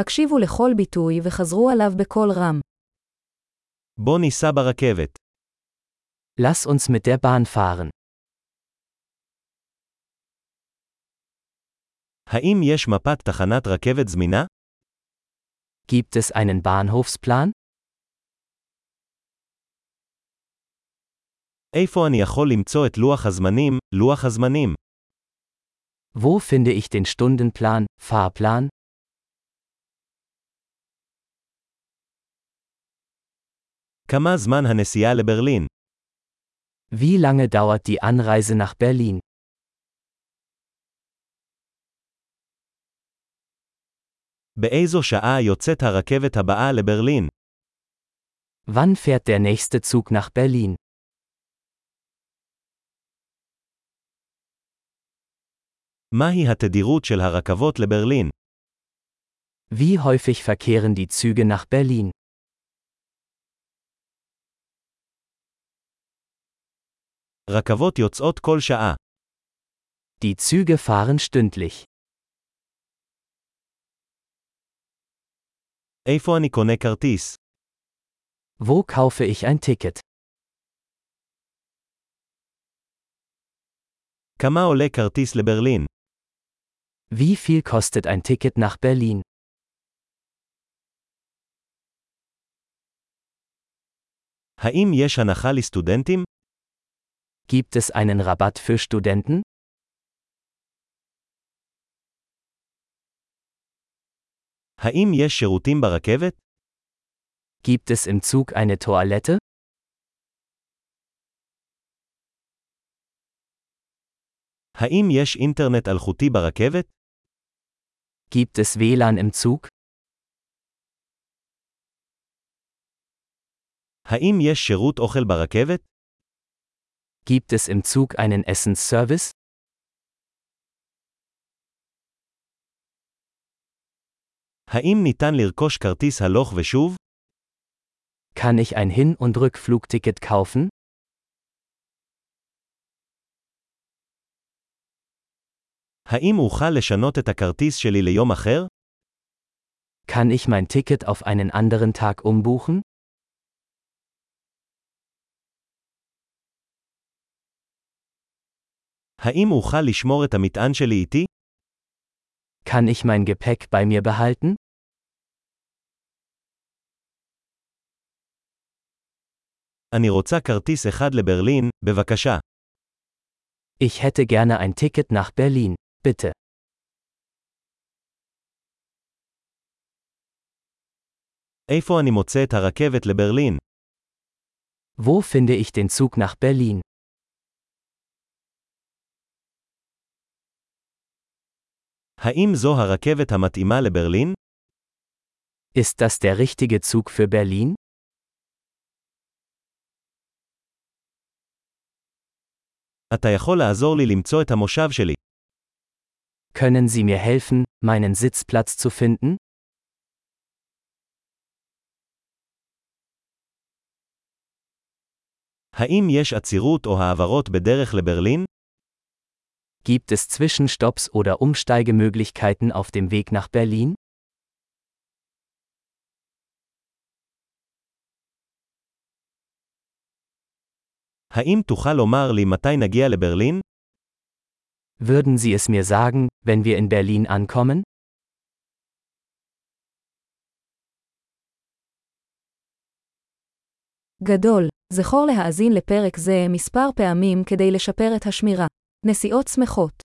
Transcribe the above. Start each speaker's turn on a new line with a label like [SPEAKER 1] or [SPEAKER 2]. [SPEAKER 1] הקשיבו לכל ביטוי וחזרו עליו בקול רם.
[SPEAKER 2] בוא ניסע ברכבת.
[SPEAKER 3] Lass uns mit der Bahn fahren.
[SPEAKER 2] האם יש מפת תחנת רכבת זמינה?
[SPEAKER 3] Gibt es einen Bahnhofsplan?
[SPEAKER 2] איפה אני יכול למצוא את לוח הזמנים, לוח הזמנים?
[SPEAKER 3] Wo finde ich den Stundenplan, Fahrplan?
[SPEAKER 2] כמה זמן הנסיעה לברלין?
[SPEAKER 3] Wie lange dauert die Anreise nach Berlin?
[SPEAKER 2] באיזו שעה יוצאת הרכבת הבאה לברלין?
[SPEAKER 3] Wann fährt der nächste Zug nach Berlin?
[SPEAKER 2] מהי התדירות של הרכבות לברלין?
[SPEAKER 3] Wie häufig verkehren die Züge nach Berlin?
[SPEAKER 2] רכבות יוצאות כל שעה.
[SPEAKER 3] Die Züge fahren stündlich.
[SPEAKER 2] איפה אני קונה כרטיס?
[SPEAKER 3] Wo kaufe ich ein Ticket?
[SPEAKER 2] כמה עולה כרטיס לברלין?
[SPEAKER 3] Wie viel kostet ein Ticket nach Berlin?
[SPEAKER 2] האם יש הנחה לסטודנטים?
[SPEAKER 3] Gibt es einen Rabatt für Studenten?
[SPEAKER 2] האם יש שירותים ברכבת?
[SPEAKER 3] Gibt es im Zug eine Toilette?
[SPEAKER 2] האם יש אינטרנט אלחוטי ברכבת?
[SPEAKER 3] Gibt es WLAN im Zug?
[SPEAKER 2] האם יש שירות אוכל ברכבת?
[SPEAKER 3] Gibt es im Zug einen Essensservice?
[SPEAKER 2] האם ניתן לרכוש כרטיס הלוך ושוב?
[SPEAKER 3] Kann ich ein Hin- und Rückflugticket kaufen?
[SPEAKER 2] האם אוכל לשנות את הכרטיס שלי ליום אחר?
[SPEAKER 3] Kann ich mein Ticket auf einen anderen Tag umbuchen?
[SPEAKER 2] האם אוכל לשמור את המטען שלי איתי?
[SPEAKER 3] Kann ich mein Gepäck bei mir behalten?
[SPEAKER 2] אני רוצה כרטיס אחד לברלין, בבקשה.
[SPEAKER 3] Ich hätte gerne ein Ticket nach Berlin, bitte.
[SPEAKER 2] איפה אני מוצא את הרכבת לברלין?
[SPEAKER 3] Wo finde ich den Zug nach Berlin?
[SPEAKER 2] האם זו הרכבת המתאימה לברלין?
[SPEAKER 3] Ist das der richtige Zug für Berlin?
[SPEAKER 2] אתה יכול לעזור לי למצוא את המושב שלי.
[SPEAKER 3] Können Sie mir helfen, meinen Sitzplatz zu finden?
[SPEAKER 2] האם יש עצירות או העברות בדרך לברלין?
[SPEAKER 3] Gibt es Zwischenstopps oder Umsteigemöglichkeiten auf dem Weg nach Berlin?
[SPEAKER 2] האם תוכל לומר לי מתי נגיע לברלין?
[SPEAKER 3] Würden Sie es mir sagen, wenn wir in Berlin ankommen?
[SPEAKER 1] גדול, זכור להאזין לפרק זה מספר פעמים כדי לשפר את השמירה. נסיעות שמחות